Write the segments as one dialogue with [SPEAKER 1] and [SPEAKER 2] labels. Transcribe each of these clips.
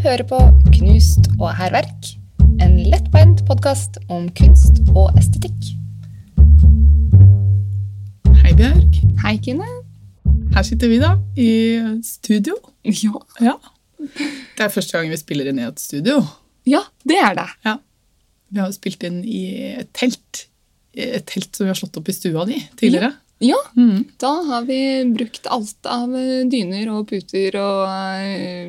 [SPEAKER 1] hører på Knust og hærverk, en lettbeint podkast om kunst og estetikk.
[SPEAKER 2] Hei, Bjørk.
[SPEAKER 1] Hei, Kine.
[SPEAKER 2] Her sitter vi, da, i studio.
[SPEAKER 1] Ja.
[SPEAKER 2] Ja. Det er første gang vi spiller inn i et studio.
[SPEAKER 1] ja, det er det.
[SPEAKER 2] Ja. Vi har jo spilt inn i et telt. Et telt som vi har slått opp i stua di tidligere.
[SPEAKER 1] Ja,
[SPEAKER 2] Mm.
[SPEAKER 1] da har vi brukt alt av eh, dyner og puter og eh,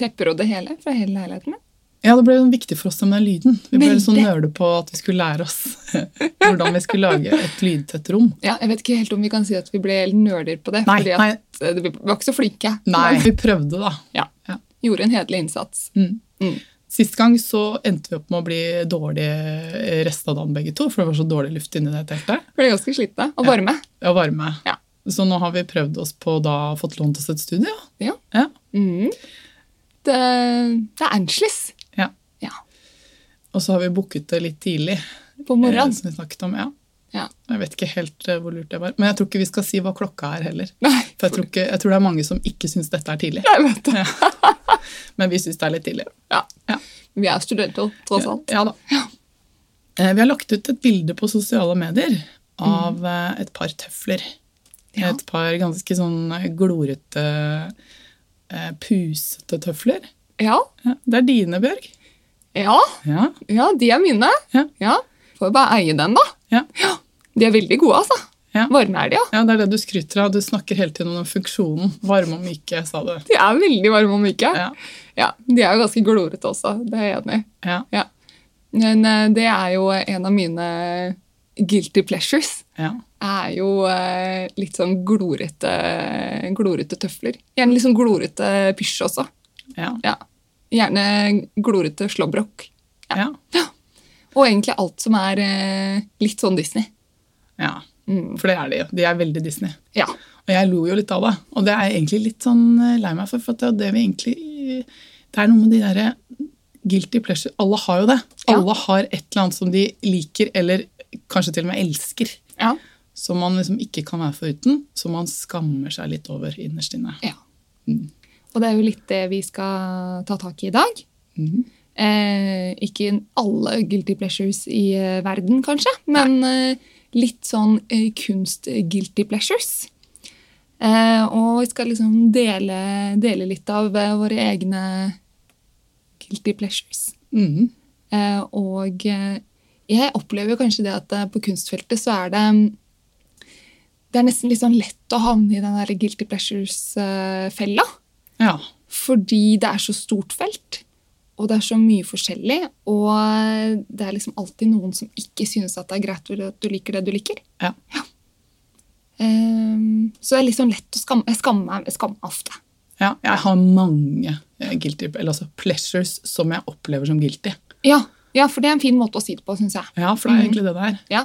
[SPEAKER 1] tepper og det hele fra hele leiligheten min.
[SPEAKER 2] Ja, det ble jo viktig for oss med den lyden. Vi ble
[SPEAKER 1] Veldig.
[SPEAKER 2] litt sånn nøle på at vi skulle lære oss hvordan vi skulle lage et lydtett rom.
[SPEAKER 1] Ja, jeg vet ikke helt om vi kan si at vi ble nøler på det,
[SPEAKER 2] Nei,
[SPEAKER 1] fordi
[SPEAKER 2] nei,
[SPEAKER 1] at eh, vi var ikke så flinke.
[SPEAKER 2] nei. Vi prøvde, da.
[SPEAKER 1] Gjorde en hederlig innsats.
[SPEAKER 2] Mm.
[SPEAKER 1] Mm.
[SPEAKER 2] Sist gang så endte vi opp med å bli dårlige resten av dagen begge to, for det var så dårlig luft inni det teltet.
[SPEAKER 1] Ble ganske slitne og varme.
[SPEAKER 2] og varme.
[SPEAKER 1] Ja.
[SPEAKER 2] Så nå har vi prøvd oss på da fått lånt oss et studio.
[SPEAKER 1] Ja.
[SPEAKER 2] Ja.
[SPEAKER 1] Mm. Det, det er Angeles.
[SPEAKER 2] Ja.
[SPEAKER 1] Ja.
[SPEAKER 2] Og så har vi booket det litt tidlig.
[SPEAKER 1] På morgenen.
[SPEAKER 2] eh, Som vi snakket om, ja.
[SPEAKER 1] Ja.
[SPEAKER 2] Jeg vet ikke helt eh, hvor lurt det var. Men jeg tror ikke vi skal si hva klokka er heller.
[SPEAKER 1] Nei,
[SPEAKER 2] For jeg tror, ikke, jeg tror det er mange som ikke syns dette er tidlig.
[SPEAKER 1] jeg vet det.
[SPEAKER 2] Men vi syns det er litt tidlig.
[SPEAKER 1] Ja.
[SPEAKER 2] Ja.
[SPEAKER 1] Vi er studenter, tross
[SPEAKER 2] Ja,
[SPEAKER 1] alt.
[SPEAKER 2] ja da. Eh, Vi har lagt ut et bilde på sosiale medier av eh, et par tøfler.
[SPEAKER 1] Ja.
[SPEAKER 2] Et par ganske sånn eh, glorete, eh, pusete tøfler.
[SPEAKER 1] Ja,
[SPEAKER 2] Ja, det er dine, Bjørg.
[SPEAKER 1] ja,
[SPEAKER 2] Ja.
[SPEAKER 1] ja de er mine.
[SPEAKER 2] Ja.
[SPEAKER 1] Får bare eie den, da.
[SPEAKER 2] Ja.
[SPEAKER 1] De er veldig gode, altså.
[SPEAKER 2] Ja.
[SPEAKER 1] Varme er de, ja.
[SPEAKER 2] ja, det er det du skryter av. Du snakker hele tiden om den funksjonen. Varme og myke, sa du.
[SPEAKER 1] De er veldig varme og myke.
[SPEAKER 2] Ja.
[SPEAKER 1] Ja, de er jo ganske glorete også, det er jeg enig i.
[SPEAKER 2] Ja,
[SPEAKER 1] Ja. Men eh, det er jo en av mine guilty pleasures.
[SPEAKER 2] ja.
[SPEAKER 1] er jo eh, litt sånn glorete, glorete tøfler. Gjerne litt sånn glorete pysj også.
[SPEAKER 2] ja,
[SPEAKER 1] Ja. Gjerne glorete slåbrok.
[SPEAKER 2] ja.
[SPEAKER 1] Og egentlig alt som er eh, litt sånn Disney.
[SPEAKER 2] ja.
[SPEAKER 1] Mm.
[SPEAKER 2] For det er de jo. De er veldig Disney.
[SPEAKER 1] Ja.
[SPEAKER 2] Og jeg lo jo litt av det. Og det er jeg egentlig litt sånn eh, lei meg for. for at det, er det, vi egentlig, det er noe med de derre guilty pleasure Alle har jo det.
[SPEAKER 1] Ja.
[SPEAKER 2] Alle har et eller annet som de liker, eller kanskje til og med elsker.
[SPEAKER 1] Ja.
[SPEAKER 2] Som man liksom ikke kan være foruten. Som man skammer seg litt over innerst inne.
[SPEAKER 1] ja.
[SPEAKER 2] Mm.
[SPEAKER 1] Og det er jo litt det vi skal ta tak i i dag.
[SPEAKER 2] Mhm.
[SPEAKER 1] Eh, ikke alle guilty pleasures i eh, verden, kanskje, men eh, litt sånn eh, kunst-guilty pleasures. Eh, og vi skal liksom dele, dele litt av eh, våre egne guilty pleasures.
[SPEAKER 2] Mhm.
[SPEAKER 1] Eh, og eh, jeg opplever kanskje det at eh, på kunstfeltet så er det mm, Det er nesten litt sånn lett å havne i den der guilty pleasures-fella.
[SPEAKER 2] Ja.
[SPEAKER 1] Fordi det er så stort felt, og det er så mye forskjellig. Og det er liksom alltid noen som ikke synes at det er greit at du liker det du liker.
[SPEAKER 2] Ja.
[SPEAKER 1] Ehm, så det er liksom lett å skamme Jeg skammer meg jeg skammer meg ofte.
[SPEAKER 2] ja. Jeg har mange eh, guilty, eller altså pleasures som jeg opplever som guilty.
[SPEAKER 1] Ja, ja, for det er en fin måte å si det på, syns jeg.
[SPEAKER 2] Ja, for det er egentlig det der.
[SPEAKER 1] Ja,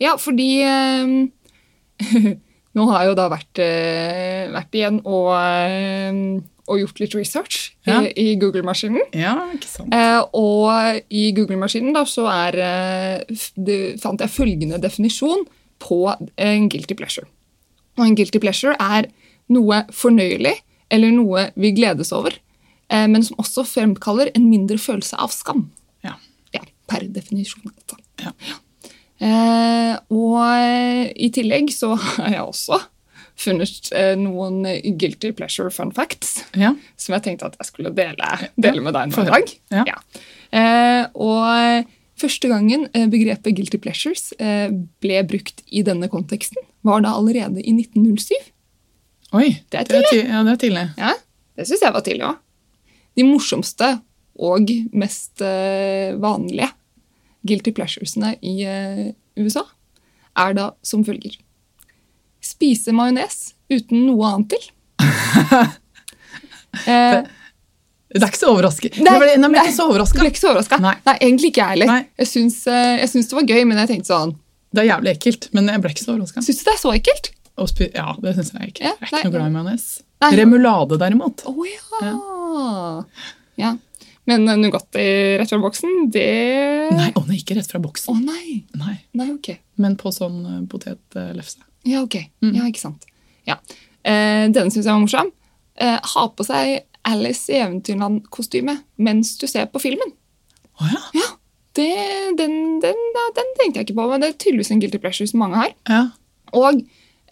[SPEAKER 1] ja fordi ehm, Nå har jeg jo da vært, eh, vært igjen og, ehm, og gjort litt research
[SPEAKER 2] Ja.
[SPEAKER 1] i, i Google-maskinen.
[SPEAKER 2] Ja, ikke sant.
[SPEAKER 1] Eh, og i Google-maskinen da, så er, eh, f- det, fant jeg følgende definisjon på en guilty pleasure. Og en guilty pleasure er noe fornøyelig, eller noe vi gledes over, eh, men som også fremkaller en mindre følelse av skam.
[SPEAKER 2] Ja.
[SPEAKER 1] Ja, per definisjon. Altså.
[SPEAKER 2] Ja.
[SPEAKER 1] Eh, og eh, i tillegg så har jeg også funnet eh, noen guilty pleasure fun facts
[SPEAKER 2] Ja.
[SPEAKER 1] som jeg tenkte at jeg skulle dele, dele med deg nå i dag.
[SPEAKER 2] Ja.
[SPEAKER 1] Eh, og første gangen eh, begrepet guilty pleasures eh, ble brukt i denne konteksten, var da allerede i 1907.
[SPEAKER 2] Oi,
[SPEAKER 1] Det er
[SPEAKER 2] ti- ja, det er tidlig.
[SPEAKER 1] Ja, det syns jeg var tidlig òg. De morsomste og mest eh, vanlige guilty pleasuresene i eh, USA er da som følger Spise majones uten noe annet til. Eh,
[SPEAKER 2] Det er ikke så overraskende.
[SPEAKER 1] Nei,
[SPEAKER 2] Nei, nei, men jeg er
[SPEAKER 1] nei.
[SPEAKER 2] ikke så
[SPEAKER 1] Jeg ble
[SPEAKER 2] overrasket.
[SPEAKER 1] ikke så overraska.
[SPEAKER 2] Nei.
[SPEAKER 1] egentlig ikke jeg heller.
[SPEAKER 2] Nei.
[SPEAKER 1] Jeg syns, eh, jeg syns det var gøy, men jeg tenkte sånn
[SPEAKER 2] Det er jævlig ekkelt, men jeg ble ikke så overraska.
[SPEAKER 1] Syns du det er så ekkelt?
[SPEAKER 2] Ja, det syns jeg ikke.
[SPEAKER 1] Ja,
[SPEAKER 2] jeg er ikke
[SPEAKER 1] nei.
[SPEAKER 2] noe glad i majones.
[SPEAKER 1] Nei.
[SPEAKER 2] Remulade, derimot.
[SPEAKER 1] Å ja. ja. Men eh, Nugatti rett fra boksen, det
[SPEAKER 2] Nei, å nei, ikke rett fra
[SPEAKER 1] Å
[SPEAKER 2] boksen.
[SPEAKER 1] nei.
[SPEAKER 2] Nei,
[SPEAKER 1] Nei, ok.
[SPEAKER 2] Men på sånn eh, potetlefse. Mhm.
[SPEAKER 1] Ja, ok. Ja, ikke sant. Ja. Eh, denne syns jeg var morsom. Eh, ha på seg Alice i Eventyrland-kostyme mens du ser på filmen.
[SPEAKER 2] Å ja.
[SPEAKER 1] Ja, det, den, den, ja, den tenkte jeg ikke på, men det er tydeligvis en guilty pleasure som mange har.
[SPEAKER 2] ja.
[SPEAKER 1] Og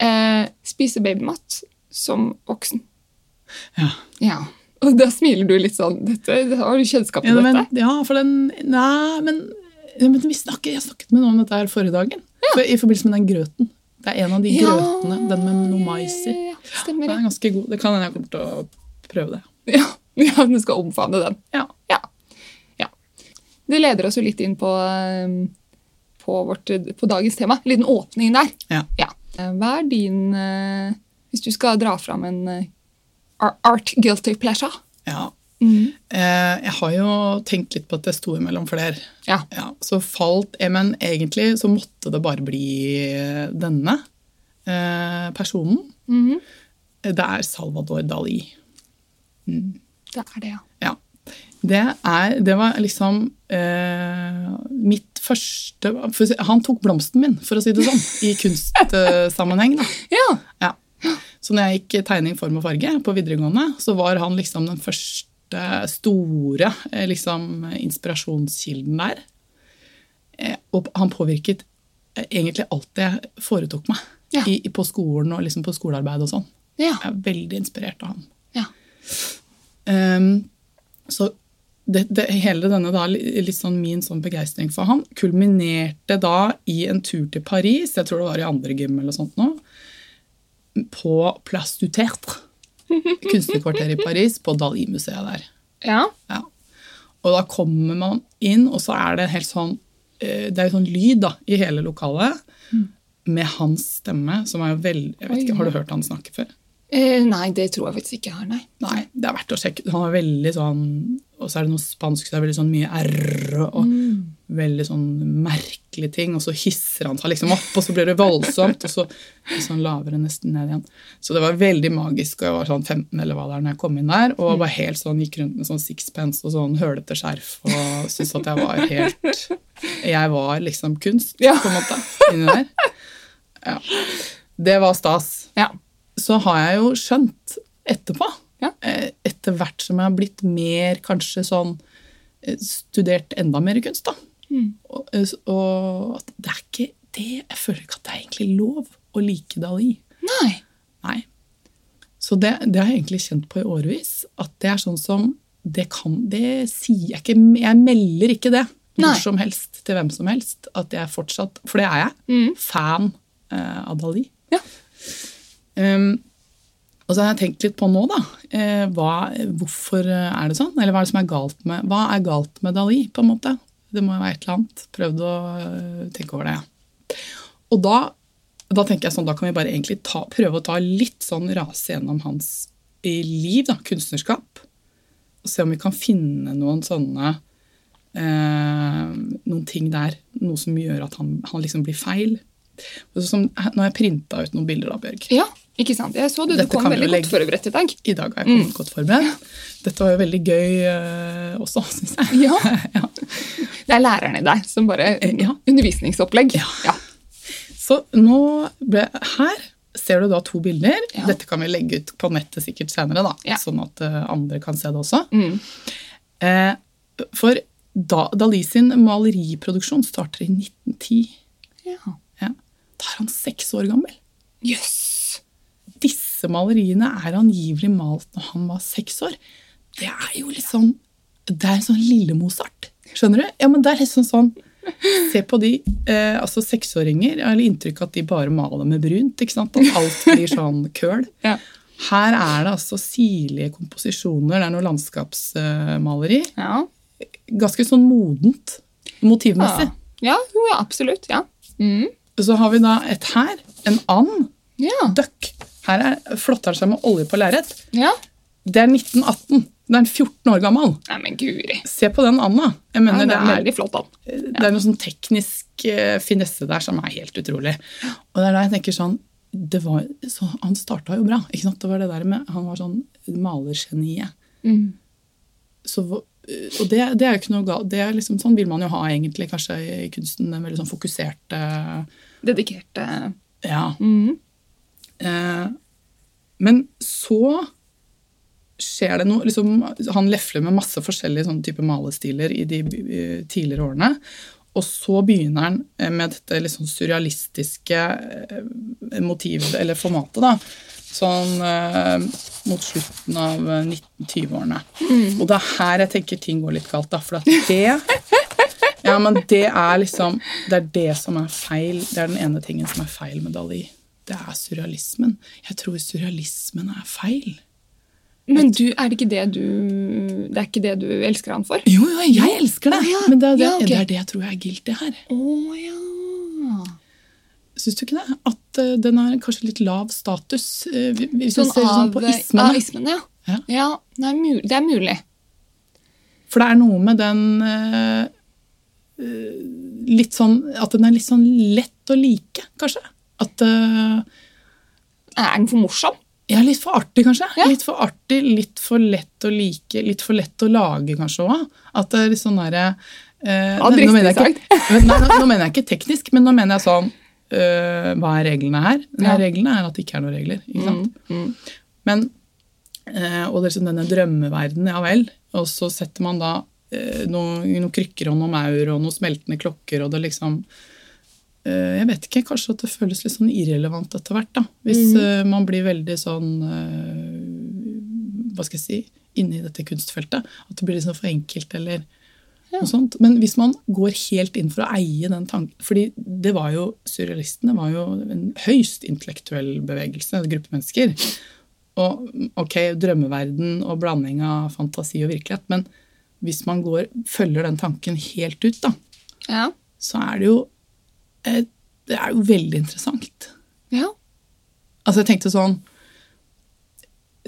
[SPEAKER 1] eh, spise babymat som voksen.
[SPEAKER 2] Ja.
[SPEAKER 1] Ja. Og da smiler du litt sånn. Dette, har du kjennskap til
[SPEAKER 2] Ja, men,
[SPEAKER 1] dette?
[SPEAKER 2] ja, for den Nei, men, ja, men vi snakker, jeg snakket med noen om dette her forrige dagen. For, I forbindelse med den grøten. Det er en av de
[SPEAKER 1] Ja,
[SPEAKER 2] grøtene. Den med noe mais i.
[SPEAKER 1] ja, ja, Stemmer
[SPEAKER 2] Den
[SPEAKER 1] det.
[SPEAKER 2] er ganske god. Det kan hende jeg kommer til å prøve det.
[SPEAKER 1] Ja, ja, du skal omfavne den.
[SPEAKER 2] Ja.
[SPEAKER 1] Ja. ja. Det leder oss jo litt inn på, eh, på, vårt, på dagens tema. En liten åpning der.
[SPEAKER 2] Ja.
[SPEAKER 1] Eh, Hva er din eh, Hvis du skal dra fram en eh, ar- art guilty pleasure?
[SPEAKER 2] ja.
[SPEAKER 1] Mm.
[SPEAKER 2] Eh, jeg har jo tenkt litt på at det sto mellom flere.
[SPEAKER 1] Ja.
[SPEAKER 2] Ja, så falt eh, Men egentlig så måtte det bare bli eh, denne eh, personen.
[SPEAKER 1] Mhm.
[SPEAKER 2] Eh, Det er Salvador Dali.
[SPEAKER 1] Det er det, ja.
[SPEAKER 2] Ja. Det, er, det var liksom eh, mitt første for å si- Han tok blomsten min, for å si det sånn, i kunstsammenheng. da.
[SPEAKER 1] Ja,
[SPEAKER 2] Ja. Så når jeg gikk tegning, form og farge på videregående, så var han liksom den første store eh, liksom, inspirasjonskilden der. Eh, Og han påvirket eh, egentlig alt det jeg foretok meg
[SPEAKER 1] Ja.
[SPEAKER 2] i, i- på skolen og liksom på skolearbeid og sånn.
[SPEAKER 1] ja,
[SPEAKER 2] Jeg er veldig inspirert av han.
[SPEAKER 1] ja.
[SPEAKER 2] Ehm, så det, det, hele denne da, li- litt sånn min sånn begeistring for han kulminerte da i en tur til Paris, jeg tror det var i andre gym eller sånt nå, på Place du Tertre, kunstnerkvarteret i Paris, på Dali-museet der.
[SPEAKER 1] ja.
[SPEAKER 2] Ja. Og da kommer man inn, og så er det helt sånn eh, Det er jo sånn lyd da, i hele lokalet med hans stemme, som er jo veldig jeg vet
[SPEAKER 1] Oi.
[SPEAKER 2] ikke, Har du hørt han snakke før?
[SPEAKER 1] Eh, nei, det tror jeg faktisk ikke jeg har, nei.
[SPEAKER 2] Nei, det er verdt å sjekke. Han er veldig sånn Og så er det noe spansk, så det er veldig sånn mye r og veldig sånn merkelige ting. Og så hisser han seg liksom opp, og så blir det voldsomt, og så liksom laver det nesten ned igjen. Så det var veldig magisk, og jeg var sånn 15 eller hva det er når jeg kom inn der, og var helt sånn, gikk rundt med sånn sixpence og sånn hølete skjerf og syntes at jeg var helt Jeg var liksom kunst,
[SPEAKER 1] Ja.
[SPEAKER 2] på en måte, inni der. Ja. Det var stas
[SPEAKER 1] Ja.
[SPEAKER 2] så har jeg jo skjønt etterpå,
[SPEAKER 1] Ja.
[SPEAKER 2] eh, etter hvert som jeg har blitt mer kanskje sånn eh, studert enda mer kunst, da. Og, eh, s- og at det er ikke det Jeg føler ikke at det er egentlig lov å like Dali.
[SPEAKER 1] Nei.
[SPEAKER 2] Nei. Så det, det har jeg egentlig kjent på i årevis. At det er sånn som Det kan Det sier jeg ikke Jeg melder ikke det
[SPEAKER 1] Nei.
[SPEAKER 2] når som helst til hvem som helst. At jeg fortsatt For det er jeg. Fan eh, av Dali.
[SPEAKER 1] Mm. Ja.
[SPEAKER 2] Ehm, og så har jeg tenkt litt på nå, da. Eh, hva, hvorfor eh, er det sånn? Eller hva er det som er galt med Hva er galt med Dali, på en måte? Det må jo være et eller annet. Prøvd å eh, tenke over det. Ja. Og da, da tenker jeg sånn, da kan vi bare egentlig ta, prøve å ta litt sånn rase gjennom hans eh, liv, da, kunstnerskap. Og se om vi kan finne noen sånne eh, noen ting der. Noe som gjør at han, han liksom blir feil. Og så Som, eh, nå har jeg printa ut noen bilder, da, Bjørg.
[SPEAKER 1] Ja, ikke sant. Jeg så du,
[SPEAKER 2] Dette
[SPEAKER 1] du kom
[SPEAKER 2] kan vi jo
[SPEAKER 1] veldig godt
[SPEAKER 2] legge-
[SPEAKER 1] forberedt i dag.
[SPEAKER 2] I dag har jeg kommet godt forberedt. Dette var jo veldig gøy eh, også, syns jeg.
[SPEAKER 1] Ja.
[SPEAKER 2] ja.
[SPEAKER 1] Det er læreren i deg som bare
[SPEAKER 2] Eh, ja.
[SPEAKER 1] Undervisningsopplegg.
[SPEAKER 2] Ja. Så nå ble Her ser du da to bilder.
[SPEAKER 1] Ja.
[SPEAKER 2] Dette kan vi legge ut på nettet sikkert senere, da,
[SPEAKER 1] Ja.
[SPEAKER 2] sånn at eh, andre kan se det også.
[SPEAKER 1] Mm.
[SPEAKER 2] Eh, for da, Dali sin maleriproduksjon starter i 1910.
[SPEAKER 1] Ja.
[SPEAKER 2] Ja. Da er han seks år gammel.
[SPEAKER 1] Jøss.
[SPEAKER 2] Disse maleriene er angivelig malt når han var seks år. Det er jo litt sånn Det er sånn lille Mozart. Skjønner du? Ja, men det er liksom sånn Se på de eh, altså seksåringer. Jeg har inntrykk av at de bare maler med brunt. ikke sant? At alt blir sånn køl.
[SPEAKER 1] Ja.
[SPEAKER 2] Her er det altså sirlige komposisjoner. Det er noe landskapsmaleri.
[SPEAKER 1] Ja.
[SPEAKER 2] Ganske sånn modent motivmessig.
[SPEAKER 1] ja. ja. Jo, ja, absolutt. Ja. Mm.
[SPEAKER 2] Så har vi da et her. En and.
[SPEAKER 1] Ja.
[SPEAKER 2] Duck. Her er, flotter han seg med olje på lerret.
[SPEAKER 1] ja.
[SPEAKER 2] Det er 1918. Den er 14 år gammel.
[SPEAKER 1] Nei, men guri.
[SPEAKER 2] Se på den Anna. Jeg
[SPEAKER 1] Ja,
[SPEAKER 2] mener,
[SPEAKER 1] det
[SPEAKER 2] det,
[SPEAKER 1] er
[SPEAKER 2] er,
[SPEAKER 1] veldig flott, da.
[SPEAKER 2] det er noe sånn teknisk eh, finesse der som er helt utrolig. Og det er da jeg tenker sånn det var, så Han starta jo bra. ikke sant? Det var det der med, Han var sånn malergeniet.
[SPEAKER 1] Mm.
[SPEAKER 2] Så, hva- eh, og det, det er jo ikke noe galt. Det er liksom sånn vil man jo ha egentlig kanskje i kunsten. Den veldig sånn fokuserte
[SPEAKER 1] Dedikerte
[SPEAKER 2] Ja.
[SPEAKER 1] mm.
[SPEAKER 2] Eh, men så skjer det noe liksom, Han lefler med masse forskjellige sånne type malestiler i de eh, tidligere årene. Og så begynner han eh, med dette litt sånn surrealistiske eh, motivet, eller formatet, da. Sånn eh, mot slutten av eh, 1920-årene. Og det er her jeg tenker ting går litt galt, da. For at det Ja, men det er liksom Det er det som er feil. Det er den ene tingen som er feil med Dali. Det er surrealismen. Jeg tror surrealismen er feil.
[SPEAKER 1] Men du, er det ikke det du Det er ikke det du elsker han for?
[SPEAKER 2] Jo, jo, jeg elsker det!
[SPEAKER 1] Å, ja.
[SPEAKER 2] Men det er det,
[SPEAKER 1] Ja, ok.
[SPEAKER 2] det er det jeg tror jeg er guilty her.
[SPEAKER 1] Å ja.
[SPEAKER 2] Syns du ikke det? At eh, den har kanskje litt lav status. eh, vi- hvis vi
[SPEAKER 1] Sånn
[SPEAKER 2] ser sånn
[SPEAKER 1] av
[SPEAKER 2] på
[SPEAKER 1] Ja,
[SPEAKER 2] ismene.
[SPEAKER 1] ismen, ja.
[SPEAKER 2] Ja.
[SPEAKER 1] ja det, er mulig, det er mulig.
[SPEAKER 2] For det er noe med den eh, eh, litt sånn, At den er litt sånn lett å like, kanskje. At eh,
[SPEAKER 1] Er den for morsom?
[SPEAKER 2] Ja, litt for artig, kanskje.
[SPEAKER 1] Ja.
[SPEAKER 2] Litt for artig, litt for lett å like, litt for lett å lage, kanskje òg. At det er litt sånn derre eh,
[SPEAKER 1] Ja,
[SPEAKER 2] nei,
[SPEAKER 1] dristig
[SPEAKER 2] nå, mener jeg ikke- Men nei, nå- nå mener jeg ikke teknisk, men nå mener jeg sånn eh, Hva er reglene her? Nei,
[SPEAKER 1] Ja. Mm,
[SPEAKER 2] Reglene er at det ikke er noen regler. ikke sant? Men, eh, og det er sånn denne drømmeverdenen, ja vel. Og så setter man da eh, noen, noen krykker og noen maur og noen smeltende klokker, og det liksom eh, Jeg vet ikke, kanskje at det føles litt sånn irrelevant etter hvert, da. Hvis eh, man blir veldig sånn eh, Hva skal jeg si Inni dette kunstfeltet. At det blir liksom for enkelt, eller noe sånt. Men hvis man går helt inn for å eie den tanken fordi det var jo, Surrealistene var jo en høyst intellektuell bevegelse, en gruppe mennesker. Og ok, drømmeverden og blanding av fantasi og virkelighet, men hvis man går, følger den tanken helt ut, da,
[SPEAKER 1] Ja.
[SPEAKER 2] så er det jo eh, det er jo veldig interessant.
[SPEAKER 1] ja.
[SPEAKER 2] Altså jeg tenkte sånn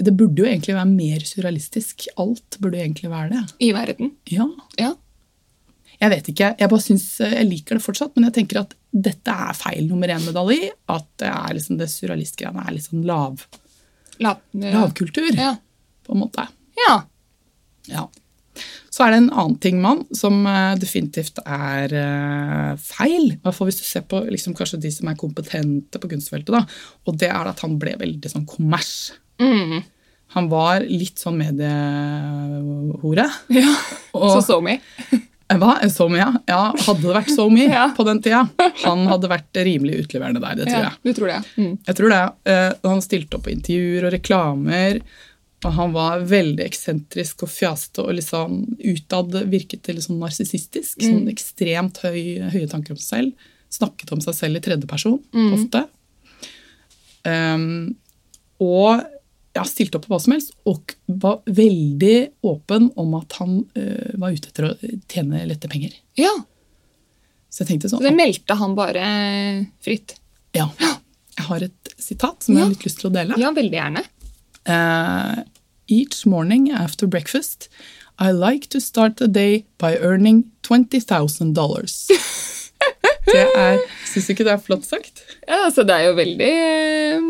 [SPEAKER 2] Det burde jo egentlig være mer surrealistisk. Alt burde jo egentlig være det.
[SPEAKER 1] I verden.
[SPEAKER 2] Ja.
[SPEAKER 1] Ja.
[SPEAKER 2] Jeg vet ikke. Jeg bare synes, eh, jeg liker det fortsatt, men jeg tenker at dette er feil nummer én med Dali. At det, er liksom, det surrealistgreiene er litt sånn lav,
[SPEAKER 1] La,
[SPEAKER 2] lavkultur,
[SPEAKER 1] Ja.
[SPEAKER 2] på en måte.
[SPEAKER 1] ja.
[SPEAKER 2] Ja. Så er det en annen ting, mann, som eh, definitivt er eh, feil. I hvert fall hvis du ser på liksom, kanskje de som er kompetente på kunstfeltet. Da. Og det er at han ble veldig sånn kommers.
[SPEAKER 1] Mm.
[SPEAKER 2] Han var litt sånn mediehore.
[SPEAKER 1] ja. Så
[SPEAKER 2] Og- eh,
[SPEAKER 1] så vi.
[SPEAKER 2] Hva? So me, ja. ja. Hadde det vært so me
[SPEAKER 1] Ja.
[SPEAKER 2] på den tida, han hadde vært rimelig utleverende der, det tror
[SPEAKER 1] Ja,
[SPEAKER 2] jeg.
[SPEAKER 1] du tror det. ja. Mm.
[SPEAKER 2] Jeg tror det. Eh, Han stilte opp på intervjuer og reklamer, og han var veldig eksentrisk og fjaste og liksom utad virket det litt sånn narsissistisk.
[SPEAKER 1] Mm.
[SPEAKER 2] Sånn ekstremt høy, høye tanker om seg selv. Snakket om seg selv i tredjeperson
[SPEAKER 1] Mm.
[SPEAKER 2] ofte. Ehm, og ja, stilte opp på hva som helst, og var veldig åpen om at han eh, var ute etter å tjene lette penger.
[SPEAKER 1] Ja.
[SPEAKER 2] Så jeg tenkte sånn
[SPEAKER 1] Så det meldte han bare eh, fritt.
[SPEAKER 2] Ja. Jeg har et sitat som jeg har litt lyst til å dele.
[SPEAKER 1] Ja, veldig gjerne.
[SPEAKER 2] Uh, each morning after breakfast, I like to start the day by earning $20,000. Det er, Syns du ikke det er flott sagt?
[SPEAKER 1] Ja, så det er jo veldig eh,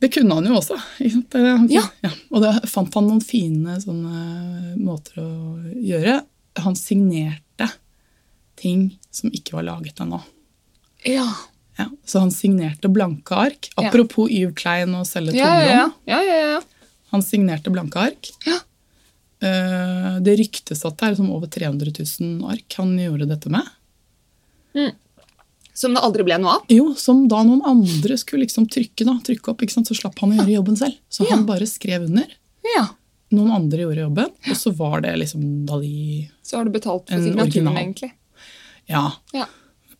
[SPEAKER 2] Det kunne han jo også. Ikke sant? Det er- han-
[SPEAKER 1] Ja.
[SPEAKER 2] Og da fant han noen fine sånne måter å gjøre. Han signerte ting som ikke var laget ennå.
[SPEAKER 1] Ja.
[SPEAKER 2] Ja, så han signerte blanke ark.
[SPEAKER 1] Ja.
[SPEAKER 2] Apropos Yves Klein og selge
[SPEAKER 1] Ja,
[SPEAKER 2] tomrom.
[SPEAKER 1] ja, ja. ja, ja, ja.
[SPEAKER 2] Han signerte blanke ark.
[SPEAKER 1] Ja.
[SPEAKER 2] Eh, Det ryktes at det er liksom over 300 000 ark han gjorde dette med.
[SPEAKER 1] Som det aldri ble noe av.
[SPEAKER 2] Jo, Som da noen andre skulle liksom trykke, da, trykke opp, ikke sant? så slapp han å gjøre jobben selv. Så
[SPEAKER 1] Ja.
[SPEAKER 2] han bare skrev under.
[SPEAKER 1] Ja.
[SPEAKER 2] Noen andre gjorde jobben, og så var det liksom Dali
[SPEAKER 1] Så har du betalt for
[SPEAKER 2] En
[SPEAKER 1] signaturen,
[SPEAKER 2] original.
[SPEAKER 1] egentlig.
[SPEAKER 2] Ja.
[SPEAKER 1] Ja.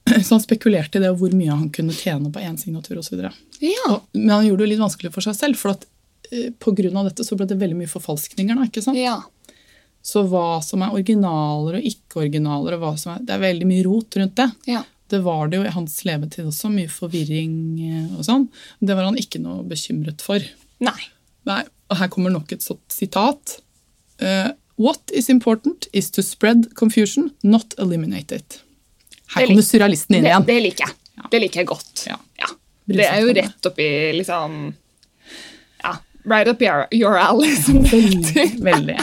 [SPEAKER 2] Så han spekulerte i det, og hvor mye han kunne tjene på én signatur osv.
[SPEAKER 1] Ja.
[SPEAKER 2] Men han gjorde det jo litt vanskelig for seg selv, for at eh, på grunn av dette så ble det veldig mye forfalskninger. da, ikke sant?
[SPEAKER 1] ja.
[SPEAKER 2] Så hva som er originaler og ikke-originaler, og hva som er, det er veldig mye rot rundt det.
[SPEAKER 1] Ja.
[SPEAKER 2] Det var det jo i hans levetid også, mye forvirring eh, og sånn. Det var han ikke noe bekymret for.
[SPEAKER 1] Nei.
[SPEAKER 2] Nei, og her kommer nok et sånt sitat. Eh, What is important is to spread confusion, not eliminate it. Her
[SPEAKER 1] Det lik-
[SPEAKER 2] kommer surrealisten inn
[SPEAKER 1] Det,
[SPEAKER 2] igjen.
[SPEAKER 1] det liker jeg. Det liker jeg godt.
[SPEAKER 2] Ja.
[SPEAKER 1] Ja. Det er jo rett oppi liksom Ja. Right up your, your alley, som det
[SPEAKER 2] Veldig,
[SPEAKER 1] heter.
[SPEAKER 2] veldig.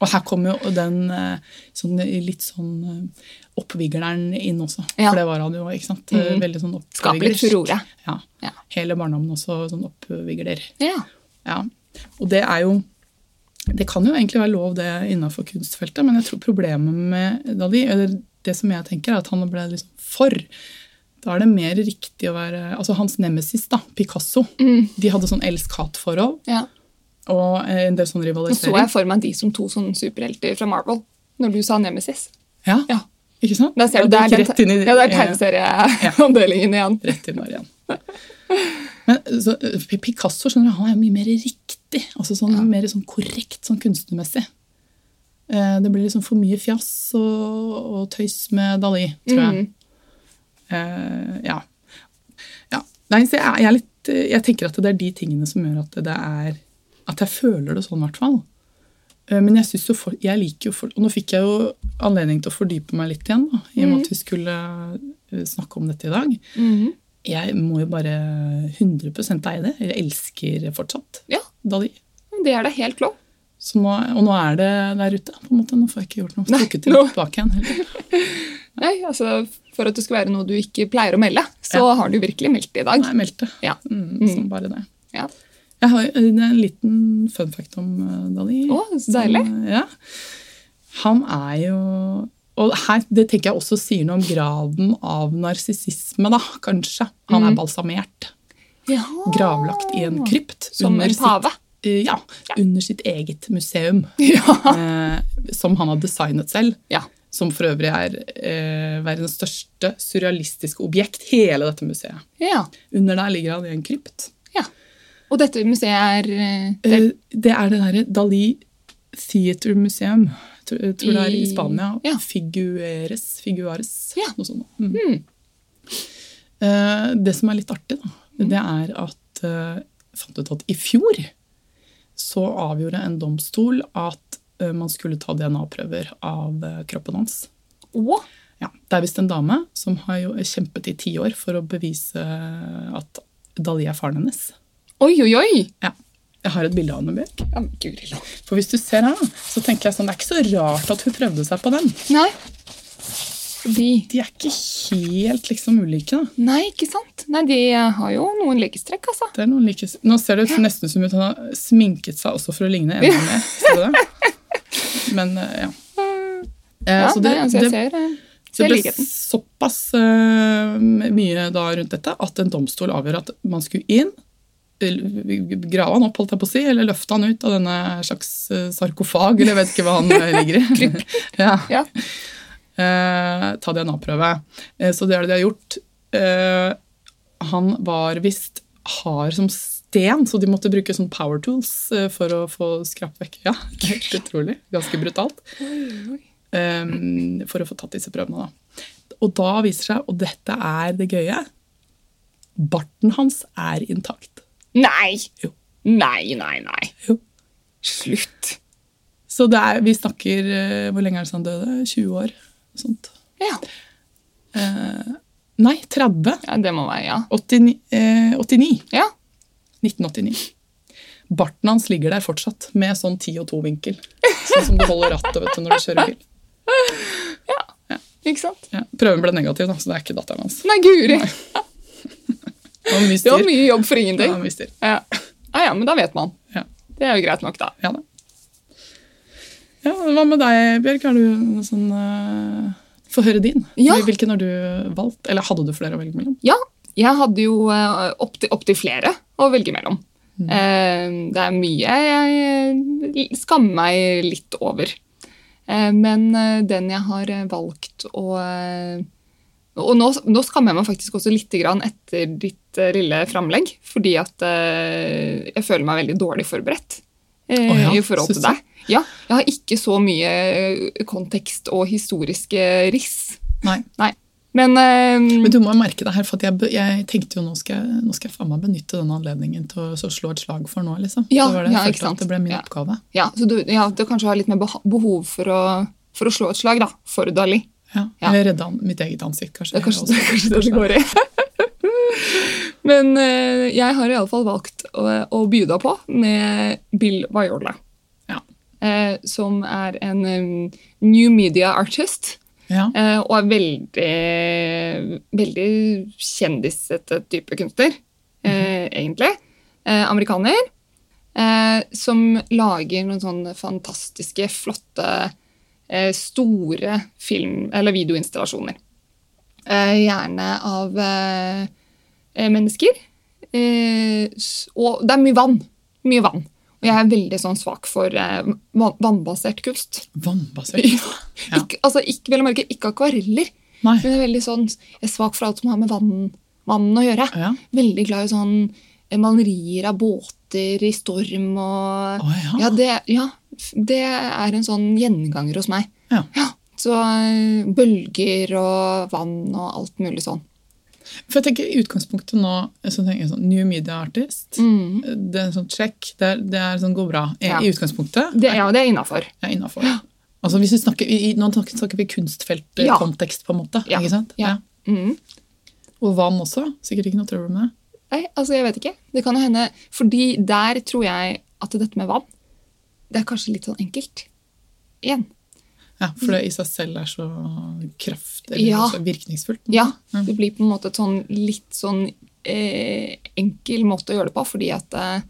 [SPEAKER 2] Og her kommer jo den eh, sånn, litt sånn eh, oppvigleren inn også.
[SPEAKER 1] Ja. Mhm.
[SPEAKER 2] For det var han jo, ikke sant? Veldig sånn
[SPEAKER 1] Skaper litt
[SPEAKER 2] oppvigler.
[SPEAKER 1] furore.
[SPEAKER 2] Ja.
[SPEAKER 1] Ja.
[SPEAKER 2] Hele barndommen også sånn oppvigler.
[SPEAKER 1] Ja.
[SPEAKER 2] Ja. Og det er jo Det kan jo egentlig være lov det innenfor kunstfeltet, men jeg tror problemet med Dali, eller det som jeg tenker, er at han ble liksom for. Da er det mer riktig å være Altså hans nemesis, da, Picasso,
[SPEAKER 1] Mhm.
[SPEAKER 2] de hadde sånn elsk-hat-forhold
[SPEAKER 1] Ja.
[SPEAKER 2] og eh, en del sånn
[SPEAKER 1] Nå så
[SPEAKER 2] rivalisering.
[SPEAKER 1] jeg for meg de som to sånne superhelter fra Marvel, når du sa Nemesis.
[SPEAKER 2] Ja,
[SPEAKER 1] Ja,
[SPEAKER 2] ikke sant?
[SPEAKER 1] der ser du, det
[SPEAKER 2] Ja,
[SPEAKER 1] er
[SPEAKER 2] det
[SPEAKER 1] den
[SPEAKER 2] gikk rett inn i
[SPEAKER 1] ja, det er
[SPEAKER 2] eh,
[SPEAKER 1] tegneserieavdelingen igjen.
[SPEAKER 2] rett inn der igjen. Men så, eh, Picasso skjønner du, han er mye mer riktig, altså sånn, mer sånn korrekt sånn kunstnermessig. Eh, Det blir liksom for mye fjas og, og tøys med Dali, tror jeg. Eh, ja. ja. Nei, så jeg, jeg, er litt, eh, jeg tenker at det er de tingene som gjør at det er At jeg føler det sånn, i hvert fall. Eh, Men jeg, synes jo folk, jeg liker jo folk Og nå fikk jeg jo anledning til å fordype meg litt igjen, da, i og med at vi skulle eh, snakke om dette i dag.
[SPEAKER 1] Mhm.
[SPEAKER 2] Jeg må jo bare 100 eie det. Jeg elsker fortsatt
[SPEAKER 1] Ja,
[SPEAKER 2] Dali.
[SPEAKER 1] men det er det helt lov.
[SPEAKER 2] Så nå, og nå er det der ute, på en måte. Nå får jeg ikke gjort noe.
[SPEAKER 1] Nei,
[SPEAKER 2] Trukket det
[SPEAKER 1] nå-
[SPEAKER 2] tilbake igjen. heller.
[SPEAKER 1] Nei, altså, For at det skal være noe du ikke pleier å melde, så har du virkelig meldt det i dag.
[SPEAKER 2] Nei, jeg meldte.
[SPEAKER 1] Ja.
[SPEAKER 2] Mm, som bare det.
[SPEAKER 1] ja.
[SPEAKER 2] Jeg har jo en liten fun fact om eh, Dali.
[SPEAKER 1] Å, så deilig.
[SPEAKER 2] Som, eh, ja. Han er jo Og her, det tenker jeg også sier noe om graden av narsissisme, da, kanskje. Han
[SPEAKER 1] Mm.
[SPEAKER 2] er balsamert.
[SPEAKER 1] Ja.
[SPEAKER 2] Gravlagt i en krypt.
[SPEAKER 1] Som
[SPEAKER 2] under
[SPEAKER 1] en
[SPEAKER 2] sitt-
[SPEAKER 1] pave.
[SPEAKER 2] eh, ja, under sitt eget museum.
[SPEAKER 1] Ja.
[SPEAKER 2] eh, som han har designet selv.
[SPEAKER 1] ja.
[SPEAKER 2] Som for øvrig er eh, verdens største surrealistiske objekt, hele dette museet.
[SPEAKER 1] ja.
[SPEAKER 2] Under der ligger han i en krypt.
[SPEAKER 1] ja. Og dette museet er eh,
[SPEAKER 2] Eh,
[SPEAKER 1] det,
[SPEAKER 2] Det, er det derre Dali Theater Museum, tror, jeg tror det er i
[SPEAKER 1] I-
[SPEAKER 2] Spania.
[SPEAKER 1] ja.
[SPEAKER 2] Figueres, Figuares,
[SPEAKER 1] Ja.
[SPEAKER 2] noe sånt. Mm. Eh, det som er litt artig, da, det er at eh, jeg fant ut at i fjor så avgjorde en domstol at eh, man skulle ta DNA-prøver av eh, kroppen hans.
[SPEAKER 1] Å,
[SPEAKER 2] Ja, det er visst en dame som har jo kjempet i ti år for å bevise at Dali er faren hennes.
[SPEAKER 1] Oi, oi, oi!
[SPEAKER 2] Ja. Jeg har et bilde av henne, Bjørk.
[SPEAKER 1] Ja, men guri land.
[SPEAKER 2] For hvis du ser her, da, så tenker jeg sånn, det er ikke så rart at hun prøvde seg på den.
[SPEAKER 1] Nei. De
[SPEAKER 2] De er ikke helt liksom ulike, da.
[SPEAKER 1] Nei, ikke sant? Nei, De har jo noen likestrekk, altså.
[SPEAKER 2] Det er noen like... Nå ser det ut- nesten som ut han har sminket seg også for å ligne enda mer. Ser du det? Men, eh, ja. Eh,
[SPEAKER 1] Ja,
[SPEAKER 2] så det,
[SPEAKER 1] nei, altså
[SPEAKER 2] det,
[SPEAKER 1] jeg ser, eh,
[SPEAKER 2] Så
[SPEAKER 1] ser
[SPEAKER 2] det ble
[SPEAKER 1] likheten.
[SPEAKER 2] såpass eh, mye da rundt dette at en domstol avgjør at man skulle inn, l- grave han opp, holdt jeg på å si, eller løfte han ut av denne slags eh, sarkofag, eller jeg vet ikke hva han eh, ligger i. ja.
[SPEAKER 1] Ja.
[SPEAKER 2] Eh, ta DNA-prøve. Eh, så det er det de har gjort. Eh, han var visst hard som sten, så de måtte bruke sånn power tools eh, for å få skrapt vekk. Ja, helt utrolig. Ganske brutalt um, for å få tatt disse prøvene. Da. Og da viser det seg, og dette er det gøye, barten hans er intakt.
[SPEAKER 1] Nei!
[SPEAKER 2] Jo.
[SPEAKER 1] Nei, nei, nei.
[SPEAKER 2] Jo.
[SPEAKER 1] Slutt.
[SPEAKER 2] Så det er, vi snakker eh, Hvor lenge er det siden han døde? 20 år? Sånt.
[SPEAKER 1] Ja.
[SPEAKER 2] Nei, 30.
[SPEAKER 1] ja, det må være ja.
[SPEAKER 2] 89, eh, 89.
[SPEAKER 1] Ja,
[SPEAKER 2] 1989. Barten hans ligger der fortsatt, med sånn 10 og 2-vinkel. Sånn som du holder rattet vet du, når du kjører bil.
[SPEAKER 1] ikke sant?
[SPEAKER 2] Ja. Prøven ble negativ, da, så det er ikke datteren hans.
[SPEAKER 1] Nei, guri!
[SPEAKER 2] Det var mye
[SPEAKER 1] Det var
[SPEAKER 2] styr.
[SPEAKER 1] mye jobb for
[SPEAKER 2] Det
[SPEAKER 1] ingenting.
[SPEAKER 2] var mye styr.
[SPEAKER 1] Ja. Ah, ja, ja, men da vet man.
[SPEAKER 2] Ja.
[SPEAKER 1] Det er jo greit nok, da.
[SPEAKER 2] Ja da. Ja, hva med deg, Bjørk? Har du noe sånn eh, Få høre din.
[SPEAKER 1] Ja.
[SPEAKER 2] Hvilken har du valgt? Eller hadde du flere å velge mellom?
[SPEAKER 1] Ja, jeg hadde jo eh, opp til- opp til flere å velge mellom.
[SPEAKER 2] Mm.
[SPEAKER 1] Eh, Det er mye jeg eh, skammer meg litt over. Eh, Men eh, den jeg har eh, valgt å eh, Og nå, nå skammer jeg meg faktisk også litt grann etter ditt eh, lille framlegg, fordi at eh, jeg føler meg veldig dårlig forberedt eh,
[SPEAKER 2] Å ja,
[SPEAKER 1] i forhold til
[SPEAKER 2] synes
[SPEAKER 1] deg. Ja, jeg har ikke så mye eh, kontekst og historiske riss.
[SPEAKER 2] Nei.
[SPEAKER 1] Nei. Men, eh,
[SPEAKER 2] Men du må jo merke det her, for at jeg, be- jeg tenkte jo nå skal, jeg- nå skal jeg faen meg benytte den anledningen til å så slå et slag for nå, liksom.
[SPEAKER 1] Ja,
[SPEAKER 2] det var det jeg
[SPEAKER 1] ja,
[SPEAKER 2] følte
[SPEAKER 1] ikke sant.
[SPEAKER 2] at det ble min
[SPEAKER 1] Ja.
[SPEAKER 2] oppgave.
[SPEAKER 1] Ja, så du, ja, du kanskje har litt mer beha- behov for å, for å slå et slag da, for Dali.
[SPEAKER 2] Ja.
[SPEAKER 1] Ja.
[SPEAKER 2] Eller redde an- mitt eget ansikt, kanskje.
[SPEAKER 1] Det er kanskje,
[SPEAKER 2] Også.
[SPEAKER 1] kanskje det som går i. Men eh, jeg har iallfall valgt å, å by deg på med Bill Viola,
[SPEAKER 2] Ja.
[SPEAKER 1] eh, som er en em, new media artist.
[SPEAKER 2] Ja.
[SPEAKER 1] Eh, og er veldig, veldig kjendisete type kunstner, eh, egentlig. Eh, amerikaner. eh, som lager noen sånne fantastiske, flotte, eh, store film- eller videoinstallasjoner. Eh, gjerne av eh, eh, mennesker. Eh, s- og det er mye vann. Mye vann. Og jeg er veldig sånn svak for eh, vann- vannbasert kunst.
[SPEAKER 2] Vannbasert. Ja.
[SPEAKER 1] Ikke, altså, ikke, vel å merke, ikke akvareller,
[SPEAKER 2] Nei.
[SPEAKER 1] men jeg er veldig sånn, jeg er svak for alt som har med vann, vann å gjøre.
[SPEAKER 2] Ja.
[SPEAKER 1] Veldig glad i sånn eh, malerier av båter i storm og
[SPEAKER 2] Å ja.
[SPEAKER 1] ja, det, ja, f- det er en sånn gjenganger hos meg.
[SPEAKER 2] Ja.
[SPEAKER 1] Så eh, bølger og vann og alt mulig sånn.
[SPEAKER 2] For jeg tenker i utgangspunktet nå så tenker jeg sånn, New media artist.
[SPEAKER 1] Mm.
[SPEAKER 2] Det er en sånn check. Det, er, det er sånn, går bra i,
[SPEAKER 1] Ja.
[SPEAKER 2] i utgangspunktet.
[SPEAKER 1] Det, ja, det er innafor.
[SPEAKER 2] Jeg er innafor. Altså, hvis vi snakker, i, i- nå snakker snakker vi
[SPEAKER 1] Ja.
[SPEAKER 2] kunstfeltkontekst, på en måte.
[SPEAKER 1] Ja.
[SPEAKER 2] ikke sant?
[SPEAKER 1] Ja. Mm.
[SPEAKER 2] Og vann også. Sikkert ikke noe trøbbel med det.
[SPEAKER 1] Nei, altså jeg vet ikke. Det kan jo hende, fordi der tror jeg at dette med vann, det er kanskje litt sånn enkelt. Igjen.
[SPEAKER 2] Ja, for det i seg selv er så kraft, eller
[SPEAKER 1] Mm. Ja.
[SPEAKER 2] så virkningsfullt.
[SPEAKER 1] Ja,
[SPEAKER 2] Mm.
[SPEAKER 1] det blir på en måte et sånn litt sånn eh, enkel måte å gjøre det på, fordi at eh,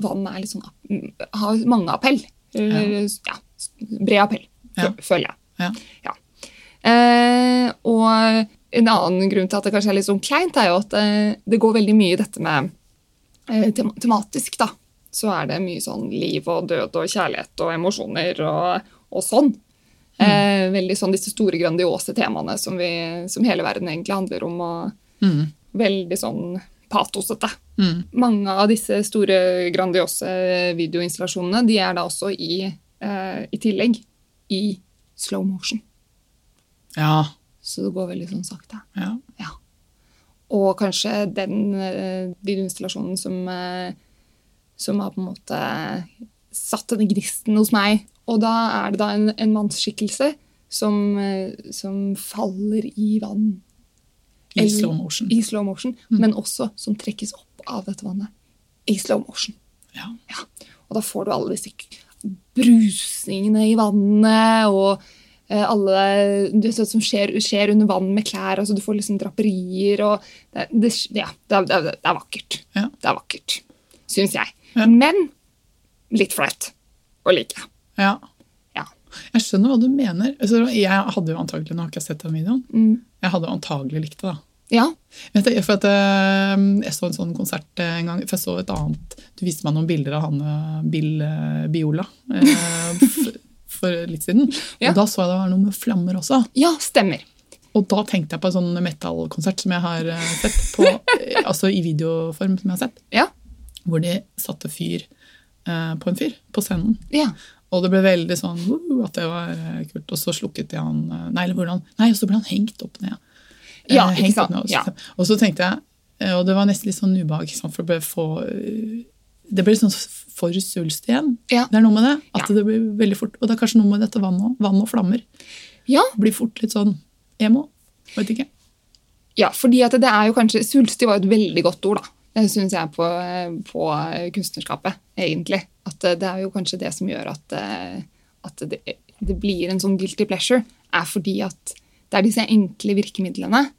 [SPEAKER 1] vann er litt sånn, app- har mange appell. Eller, ja. bred appell, fø-
[SPEAKER 2] Ja.
[SPEAKER 1] føler jeg.
[SPEAKER 2] Ja.
[SPEAKER 1] Ja. Eh, og en annen grunn til at det kanskje er litt sånn kleint, er jo at eh, det går veldig mye i dette med eh, tem tematisk, da. Så er det mye sånn liv og død og kjærlighet og emosjoner og, og sånn. Eh, veldig sånn disse store, grandiose temaene som, vi, som hele verden egentlig handler om, og
[SPEAKER 2] Mm.
[SPEAKER 1] veldig sånn patosete.
[SPEAKER 2] Mm.
[SPEAKER 1] Mange av disse store, grandiose videoinstallasjonene de er da også i, eh, i tillegg i slow motion.
[SPEAKER 2] Ja.
[SPEAKER 1] Så det går veldig sånn sakte.
[SPEAKER 2] ja.
[SPEAKER 1] Ja. Og kanskje den eh, videoinstallasjonen som, eh, som har på en måte satt denne gnisten hos meg. Og da er det da en, en mannsskikkelse som, eh, som faller i vann
[SPEAKER 2] I
[SPEAKER 1] Eller-
[SPEAKER 2] slow motion.
[SPEAKER 1] i slow motion,
[SPEAKER 2] Mm.
[SPEAKER 1] men også som trekkes opp av dette vannet i slow motion.
[SPEAKER 2] Ja.
[SPEAKER 1] Ja. Og da får du alle disse k- brusningene i vannet, og eh, alle du vet, sånt som skjer, skjer under vann med klær. altså Du får liksom draperier og Det, det, ja, det, er- det, er- det er vakkert.
[SPEAKER 2] Ja.
[SPEAKER 1] Det er vakkert, syns jeg.
[SPEAKER 2] Ja.
[SPEAKER 1] Men litt flaut å like.
[SPEAKER 2] ja.
[SPEAKER 1] Ja.
[SPEAKER 2] Jeg skjønner hva du mener. Altså, jeg hadde jo antagelig, nå har ikke jeg sett den videoen,
[SPEAKER 1] Mm.
[SPEAKER 2] jeg hadde jo antagelig likt det da.
[SPEAKER 1] Ja.
[SPEAKER 2] Vet du, for at, eh, jeg så en sånn konsert eh, en gang, for jeg så et annet Du viste meg noen bilder av han eh, Bill eh, Biola eh, f- for litt siden.
[SPEAKER 1] Ja.
[SPEAKER 2] Og da så jeg det var noe med flammer også.
[SPEAKER 1] ja, stemmer.
[SPEAKER 2] Og da tenkte jeg på en sånn metallkonsert som jeg har eh, sett, på, eh, altså i videoform, som jeg har sett,
[SPEAKER 1] Ja.
[SPEAKER 2] hvor de satte fyr eh, på en fyr på scenen.
[SPEAKER 1] ja.
[SPEAKER 2] Og det ble veldig sånn «Woo», at det var eh, kult. Og så slukket de han eh, Nei, eller hvordan? Nei, og så ble han hengt opp ned. Eh,
[SPEAKER 1] Ja, ikke
[SPEAKER 2] hengt
[SPEAKER 1] sant?
[SPEAKER 2] opp ned, og så-
[SPEAKER 1] Ja.
[SPEAKER 2] Og så tenkte jeg eh, Og det var nesten litt sånn ubehag, ikke sant? for det ble for eh, Det ble litt sånn for svulst igjen.
[SPEAKER 1] Ja.
[SPEAKER 2] Det er noe med det. At
[SPEAKER 1] Ja.
[SPEAKER 2] det blir veldig fort Og det er kanskje noe med dette vannet òg. Vann og flammer.
[SPEAKER 1] ja.
[SPEAKER 2] Blir fort litt sånn emo. Vet ikke.
[SPEAKER 1] Ja, fordi at det er jo kanskje Svulstig var jo et veldig godt ord, da. Det syns jeg på, eh, på kunstnerskapet, egentlig. At eh, det er jo kanskje det som gjør at, eh, at det, det blir en sånn guilty pleasure, er fordi at det er disse enkle virkemidlene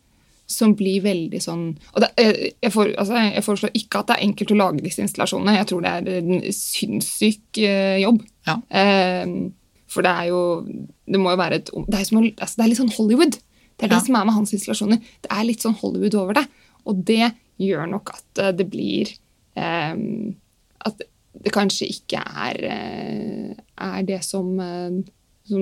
[SPEAKER 1] som blir veldig sånn og det, eh, jeg, for, altså, jeg foreslår ikke at det er enkelt å lage disse installasjonene. Jeg tror det er en sinnssyk eh, jobb.
[SPEAKER 2] Ja.
[SPEAKER 1] Eh, for det er jo Det må jo være et Det er, som, å- altså, det er litt sånn Hollywood. Det er
[SPEAKER 2] Ja.
[SPEAKER 1] det som er med hans installasjoner. Det er litt sånn Hollywood over det. Og det gjør nok at eh, det blir eh, At det kanskje ikke er eh, Er det som, eh, som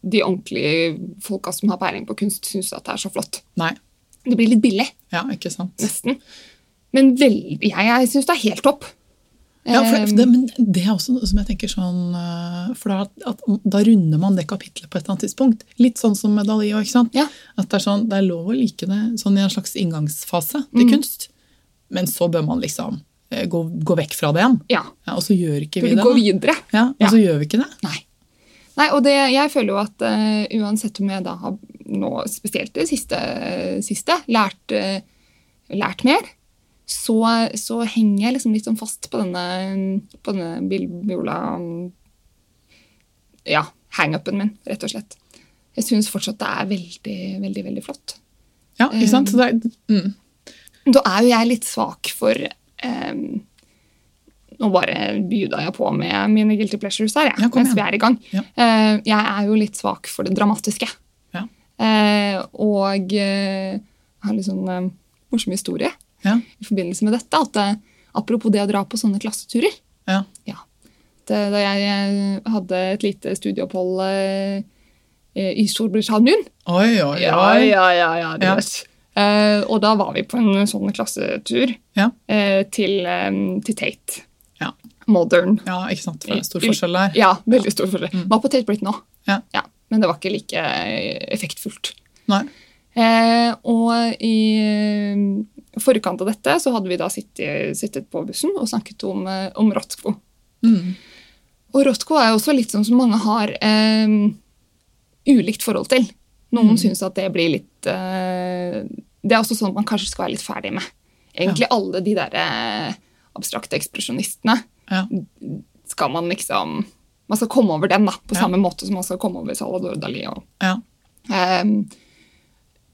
[SPEAKER 1] de ordentlige folka som har peiling på kunst, syns at det er så flott.
[SPEAKER 2] Nei.
[SPEAKER 1] Det blir litt billig,
[SPEAKER 2] Ja, ikke sant.
[SPEAKER 1] nesten. Men veldig, jeg, jeg syns det er helt topp.
[SPEAKER 2] Ja, for
[SPEAKER 1] Eh,
[SPEAKER 2] det, men det er også noe som jeg tenker sånn eh, For da, at, da runder man det kapitlet på et eller annet tidspunkt. Litt sånn som med Dali òg, ikke sant?
[SPEAKER 1] Ja.
[SPEAKER 2] At det er, sånn, det er lov å like det sånn i en slags inngangsfase
[SPEAKER 1] Mm.
[SPEAKER 2] til kunst. Men så bør man liksom eh, gå, gå vekk fra det igjen.
[SPEAKER 1] ja.
[SPEAKER 2] Ja, og så gjør ikke
[SPEAKER 1] Burde
[SPEAKER 2] vi det.
[SPEAKER 1] gå
[SPEAKER 2] da.
[SPEAKER 1] videre.
[SPEAKER 2] Ja, og
[SPEAKER 1] Ja.
[SPEAKER 2] så gjør vi ikke det.
[SPEAKER 1] Nei. Nei, og det, jeg føler jo at eh, uansett om jeg da har nå, spesielt det siste, siste lært, eh, lært mer, så, så henger jeg liksom litt sånn fast på denne, på denne Bill Biola ja, hangupen min, rett og slett. Jeg syns fortsatt det er veldig, veldig, veldig flott.
[SPEAKER 2] Ja, ikke sant?
[SPEAKER 1] Ehm.
[SPEAKER 2] Så det er, mm.
[SPEAKER 1] Da er jo jeg litt svak for eh, nå bare byda jeg på med mine guilty pleasures her, jeg,
[SPEAKER 2] Ja, kom
[SPEAKER 1] mens
[SPEAKER 2] igjen.
[SPEAKER 1] vi er i gang.
[SPEAKER 2] Ja.
[SPEAKER 1] Eh, jeg er jo litt svak for det dramatiske.
[SPEAKER 2] Ja.
[SPEAKER 1] Eh, og eh, jeg har litt sånn eh, morsom historie
[SPEAKER 2] Ja.
[SPEAKER 1] i forbindelse med dette. At eh, apropos det å dra på sånne klasseturer
[SPEAKER 2] Ja.
[SPEAKER 1] ja. det, Da jeg eh, hadde et lite studieopphold eh, i Storbritannia
[SPEAKER 2] Oi, oi, oi.
[SPEAKER 1] ja, ja, ja, du
[SPEAKER 2] Ja.
[SPEAKER 1] vet. Eh, og da var vi på en sånn klassetur
[SPEAKER 2] Ja.
[SPEAKER 1] eh, til, eh, til Tate.
[SPEAKER 2] Ja.
[SPEAKER 1] Modern.
[SPEAKER 2] Ja, ikke sant. For det er stor forskjell der.
[SPEAKER 1] Ja, veldig stor forskjell. Var på Tate Britain òg,
[SPEAKER 2] Mm. Ja.
[SPEAKER 1] men det var ikke like eh, effektfullt.
[SPEAKER 2] Nei.
[SPEAKER 1] Eh, og i eh, forkant av dette så hadde vi da sittet, sittet på bussen og snakket om, eh, om Rothko.
[SPEAKER 2] Mm.
[SPEAKER 1] Og Rothko er jo også litt sånn som mange har eh, ulikt forhold til.
[SPEAKER 2] Mm.
[SPEAKER 1] Noen syns at det blir litt eh, Det er også sånn man kanskje skal være litt ferdig med. Egentlig alle de der eh, abstrakte ekspresjonistene
[SPEAKER 2] Ja.
[SPEAKER 1] skal man liksom Man skal komme over dem, da, på
[SPEAKER 2] Ja.
[SPEAKER 1] samme måte som man skal komme over Salvador Dali og
[SPEAKER 2] Ja.
[SPEAKER 1] Ehm,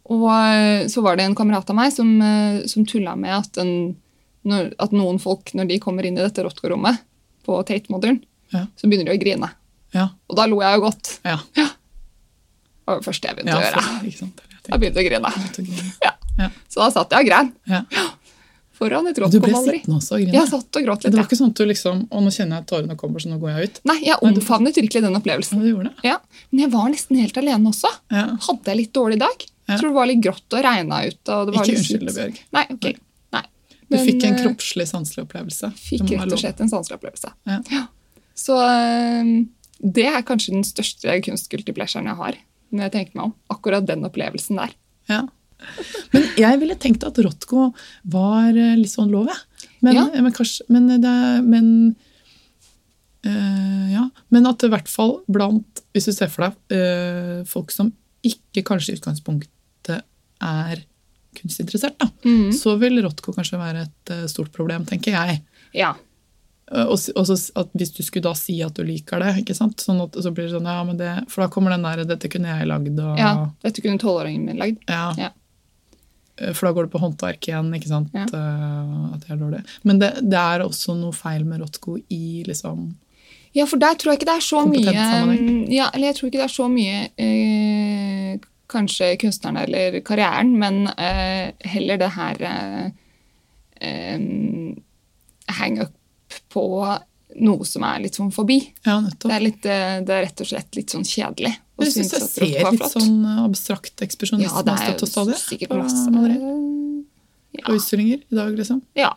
[SPEAKER 1] og eh, så var det en kamerat av meg som, eh, som tulla med at, en, når, at noen folk, når de kommer inn i dette Rothko-rommet på Tate Modern,
[SPEAKER 2] Ja.
[SPEAKER 1] så begynner de å grine.
[SPEAKER 2] Ja.
[SPEAKER 1] Og da lo jeg jo godt.
[SPEAKER 2] Ja.
[SPEAKER 1] Det var det første jeg begynte
[SPEAKER 2] ja
[SPEAKER 1] å gjøre.
[SPEAKER 2] for, ikke sant. Jeg
[SPEAKER 1] Jeg begynte å grine.
[SPEAKER 2] tenkte å grine.
[SPEAKER 1] Ja.
[SPEAKER 2] Ja.
[SPEAKER 1] Så da satt jeg og grein
[SPEAKER 2] Ja.
[SPEAKER 1] foran et
[SPEAKER 2] Og du ble
[SPEAKER 1] Rothko-maleri.
[SPEAKER 2] sittende også og grine?
[SPEAKER 1] Jeg satt og gråt
[SPEAKER 2] Det
[SPEAKER 1] litt.
[SPEAKER 2] var
[SPEAKER 1] Ja.
[SPEAKER 2] ikke sånn at du liksom Å, nå kjenner jeg at tårene kommer, så nå går jeg ut.
[SPEAKER 1] Nei, jeg omfavnet virkelig den opplevelsen.
[SPEAKER 2] Ja, du gjorde det.
[SPEAKER 1] Ja. Men jeg var nesten helt alene også.
[SPEAKER 2] Ja.
[SPEAKER 1] Hadde jeg litt dårlig dag?
[SPEAKER 2] Ja.
[SPEAKER 1] Jeg tror det var litt grått og regna ut. Og det var
[SPEAKER 2] Ikke
[SPEAKER 1] litt
[SPEAKER 2] unnskyld det,
[SPEAKER 1] kjipt.
[SPEAKER 2] Bjørg.
[SPEAKER 1] Nei, ok. Nei.
[SPEAKER 2] Du fikk en
[SPEAKER 1] eh,
[SPEAKER 2] kroppslig, sanselig opplevelse. Det
[SPEAKER 1] Fikk
[SPEAKER 2] må
[SPEAKER 1] rett
[SPEAKER 2] være
[SPEAKER 1] og
[SPEAKER 2] lov.
[SPEAKER 1] slett en sanselig opplevelse.
[SPEAKER 2] Ja.
[SPEAKER 1] Så øhm, det er kanskje den største kunstguilty pleasuren jeg har. når jeg tenker meg om. Akkurat den opplevelsen der.
[SPEAKER 2] Ja. Men jeg ville tenkt at Rothko var eh, litt sånn lov, jeg. Men, eh,
[SPEAKER 1] Ja.
[SPEAKER 2] men kanskje Men, det, er- men eh, ja. men at det i hvert fall blant, hvis du ser for deg eh, folk som ikke kanskje i utgangspunktet er kunstinteressert, da,
[SPEAKER 1] Mhm.
[SPEAKER 2] så vil Rothko kanskje være et eh, stort problem, tenker jeg.
[SPEAKER 1] Ja.
[SPEAKER 2] Eh, Og, s- og så s- at hvis du skulle da si at du liker det, ikke sant? Sånn at, så blir det sånn, ja, men det, for da kommer den der 'dette kunne jeg lagd' og
[SPEAKER 1] ja. Dette kunne tolvåringen min lagd.
[SPEAKER 2] ja. Eh,
[SPEAKER 1] Ja.
[SPEAKER 2] For da går det på håndverk igjen, ikke sant?
[SPEAKER 1] Ja.
[SPEAKER 2] Eh, At det er dårlig. Men det, det er også noe feil med Rothko i liksom
[SPEAKER 1] Ja, for der tror jeg ikke det er så mye mm,
[SPEAKER 2] Kompetent sammenheng.
[SPEAKER 1] ja, eller jeg tror ikke det er så mye eh, kanskje kunstneren eller karrieren, men eh, heller det her eh, em, hang up på noe som er litt sånn forbi.
[SPEAKER 2] Ja,
[SPEAKER 1] Det
[SPEAKER 2] nettopp.
[SPEAKER 1] er, litt, eh, det er rett og slett litt sånn kjedelig. å
[SPEAKER 2] Jeg syns
[SPEAKER 1] synes at
[SPEAKER 2] jeg
[SPEAKER 1] rock
[SPEAKER 2] ser
[SPEAKER 1] var
[SPEAKER 2] litt
[SPEAKER 1] flott.
[SPEAKER 2] sånn eh, abstrakt ekspresjonisme
[SPEAKER 1] Ja, det er
[SPEAKER 2] støtt og
[SPEAKER 1] jo
[SPEAKER 2] stadig.
[SPEAKER 1] sikkert
[SPEAKER 2] på
[SPEAKER 1] masse
[SPEAKER 2] malerier Eh, og
[SPEAKER 1] ja.
[SPEAKER 2] utstillinger i dag, liksom.
[SPEAKER 1] ja.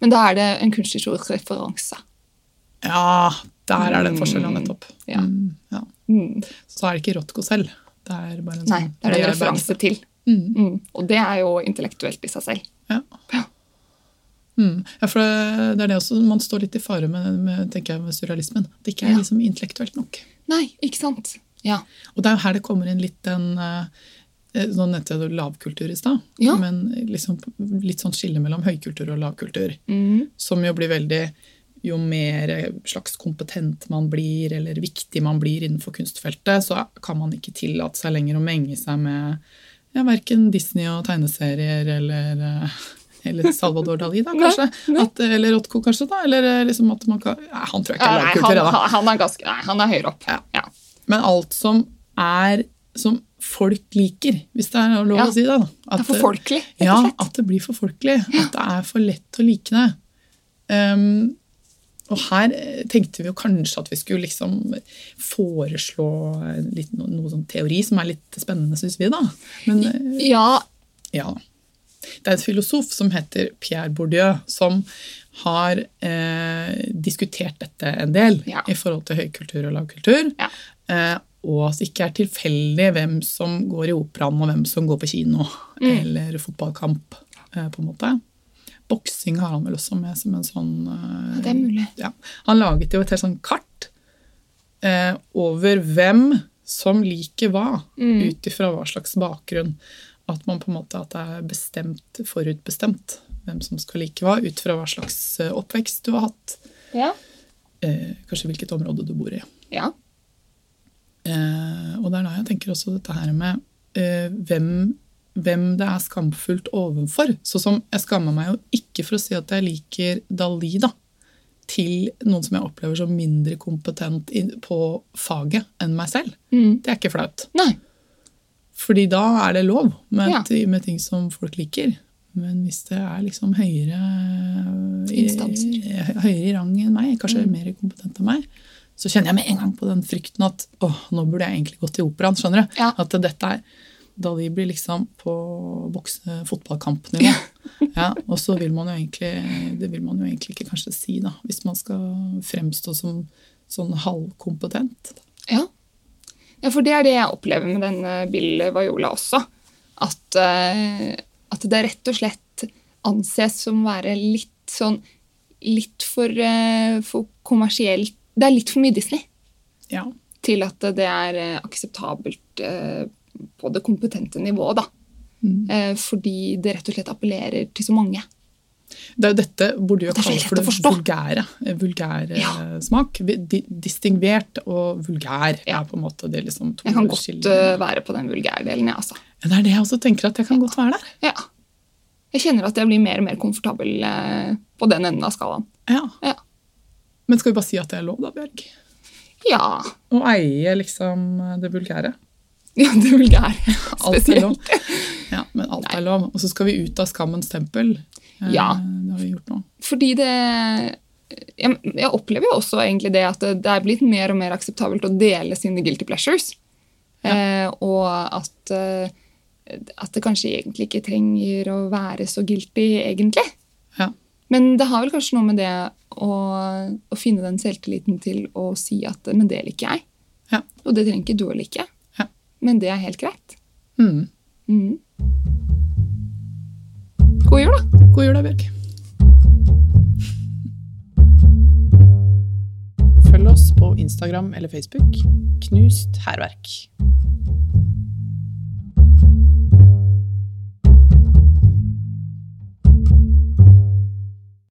[SPEAKER 1] Men da er det en kunsthistorisk referanse.
[SPEAKER 2] Ja, der er det en forskjell, ja,
[SPEAKER 1] Mm.
[SPEAKER 2] nettopp.
[SPEAKER 1] Ja.
[SPEAKER 2] Mm, ja.
[SPEAKER 1] Mm.
[SPEAKER 2] Så er det ikke Rothko selv. Det er bare en
[SPEAKER 1] Nei,
[SPEAKER 2] sånn
[SPEAKER 1] det er en
[SPEAKER 2] bearbeidelse.
[SPEAKER 1] referanse til.
[SPEAKER 2] Mm,
[SPEAKER 1] Mm. Og det er jo intellektuelt i seg selv.
[SPEAKER 2] ja.
[SPEAKER 1] Ja.
[SPEAKER 2] Mm. ja, for det, det er det også man står litt i fare med, med, tenker jeg, med surrealismen. Det ikke er
[SPEAKER 1] Ja.
[SPEAKER 2] liksom intellektuelt nok.
[SPEAKER 1] Nei, ikke sant? Ja.
[SPEAKER 2] Og det er jo her det kommer inn litt den eh, eh, Nå nevnte jeg det lavkultur i stad,
[SPEAKER 1] Ja.
[SPEAKER 2] men liksom, litt sånn skille mellom høykultur og lavkultur.
[SPEAKER 1] Mm.
[SPEAKER 2] Som jo blir veldig Jo mer eh, slags kompetent man blir, eller viktig man blir innenfor kunstfeltet, så kan man ikke tillate seg lenger å menge seg med ja, verken Disney og tegneserier eller eh, eller Salvador Dali, da, kanskje. At, eller Rothko, kanskje. da, eller eh, liksom at man kan... Nei, han tror jeg ikke er
[SPEAKER 1] Nei,
[SPEAKER 2] lavkultur.
[SPEAKER 1] han,
[SPEAKER 2] ja, da.
[SPEAKER 1] han- han er ganske Nei, han er høyere opp.
[SPEAKER 2] Ja.
[SPEAKER 1] Ja.
[SPEAKER 2] Men alt som er som folk liker, hvis det er lov
[SPEAKER 1] Ja.
[SPEAKER 2] å si det. da.
[SPEAKER 1] Det er for folkelig, rett
[SPEAKER 2] Ja,
[SPEAKER 1] og slett.
[SPEAKER 2] at det blir for folkelig. At det er for lett å like det. Ehm, og her eh, tenkte vi jo kanskje at vi skulle liksom foreslå en liten- no- noe sånn teori som er litt spennende, syns vi, da. Men eh,
[SPEAKER 1] Ja.
[SPEAKER 2] ja. Det er en filosof som heter Pierre Bourdieu, som har eh, diskutert dette en del
[SPEAKER 1] Ja.
[SPEAKER 2] i forhold til høykultur og lavkultur.
[SPEAKER 1] Ja.
[SPEAKER 2] Eh, og at det ikke er tilfeldig hvem som går i operaen og hvem som går på kino
[SPEAKER 1] Mm.
[SPEAKER 2] eller fotballkamp. Eh, på en måte. Boksing har han vel også med som en sånn eh,
[SPEAKER 1] Ja, det er mulig.
[SPEAKER 2] Ja. Han laget jo et helt sånn kart eh, over hvem som liker hva, ut ifra hva slags bakgrunn. At man på en måte at det er bestemt, forutbestemt hvem som skal like hva, ut fra hva slags eh, oppvekst du har hatt,
[SPEAKER 1] Ja.
[SPEAKER 2] eh, kanskje hvilket område du bor i.
[SPEAKER 1] ja.
[SPEAKER 2] Eh, og det er da jeg tenker også dette her med eh, hvem, hvem det er skamfullt ovenfor. Så som jeg skammer meg jo ikke for å si at jeg liker Dali, da. til noen som jeg opplever som mindre kompetent i- på faget enn meg selv.
[SPEAKER 1] Mm.
[SPEAKER 2] Det er ikke flaut.
[SPEAKER 1] Nei.
[SPEAKER 2] Fordi da er det lov med,
[SPEAKER 1] Ja.
[SPEAKER 2] ti- med ting som folk liker. Men hvis det er liksom høyere i-
[SPEAKER 1] Instanser.
[SPEAKER 2] hø- Høyere i rang enn meg, kanskje
[SPEAKER 1] Mm.
[SPEAKER 2] mer kompetent enn meg, så kjenner jeg med en gang på den frykten at åh, nå burde jeg egentlig gått til operaen. skjønner du?
[SPEAKER 1] Ja.
[SPEAKER 2] At dette er Dali blir liksom på bokse fotballkampnivå. Ja. og så vil man jo egentlig Det vil man jo egentlig ikke kanskje si, da, hvis man skal fremstå som sånn halvkompetent.
[SPEAKER 1] Ja. ja, for det er det jeg opplever med denne Bill Viola også. At, eh, at det rett og slett anses som å være litt sånn Litt for, eh, for kommersielt Det er litt for mye Disney
[SPEAKER 2] Ja.
[SPEAKER 1] til at det er eh, akseptabelt eh, på det kompetente nivået, da.
[SPEAKER 2] Mm.
[SPEAKER 1] Eh, Fordi det rett og slett appellerer til så mange.
[SPEAKER 2] Det er jo dette burde jo
[SPEAKER 1] Det er så
[SPEAKER 2] kalles for
[SPEAKER 1] lett å
[SPEAKER 2] det
[SPEAKER 1] forstå.
[SPEAKER 2] vulgære, eh, vulgære
[SPEAKER 1] Ja.
[SPEAKER 2] smak. Vi- di- Distingvert og vulgær
[SPEAKER 1] Ja.
[SPEAKER 2] er på en måte det liksom to
[SPEAKER 1] Jeg kan godt
[SPEAKER 2] skillene.
[SPEAKER 1] eh, være på den vulgære delen, jeg, altså.
[SPEAKER 2] Ja, Det er det jeg også tenker, at jeg kan godt være der.
[SPEAKER 1] Ja. Jeg kjenner at jeg blir mer og mer komfortabel eh, på den enden av skalaen.
[SPEAKER 2] Ja.
[SPEAKER 1] Ja.
[SPEAKER 2] Men skal vi bare si at det er lov, da, Bjørg?
[SPEAKER 1] Ja,
[SPEAKER 2] Å eie liksom det vulgære.
[SPEAKER 1] ja det vulgære.
[SPEAKER 2] Alt er lov.
[SPEAKER 1] Spesielt.
[SPEAKER 2] Ja, men alt er lov. Og så skal vi ut av skammens tempel. Eh,
[SPEAKER 1] Ja.
[SPEAKER 2] Det har vi gjort nå.
[SPEAKER 1] Fordi det jeg, jeg opplever jo også egentlig det at det, det er blitt mer og mer akseptabelt å dele sine guilty pleasures. Eh, og at, eh, at det kanskje egentlig ikke trenger å være så guilty, egentlig.
[SPEAKER 2] Ja.
[SPEAKER 1] Men det har vel kanskje noe med det å, å finne den selvtilliten til å si at men det liker jeg.
[SPEAKER 2] Ja.
[SPEAKER 1] Og det trenger ikke du å like.
[SPEAKER 2] Ja.
[SPEAKER 1] Men det er helt greit.
[SPEAKER 2] Mm.
[SPEAKER 1] Mhm. God jul, da!
[SPEAKER 2] God jul, da, Bjørg.
[SPEAKER 3] Følg oss på Instagram eller Facebook. Knust hærverk.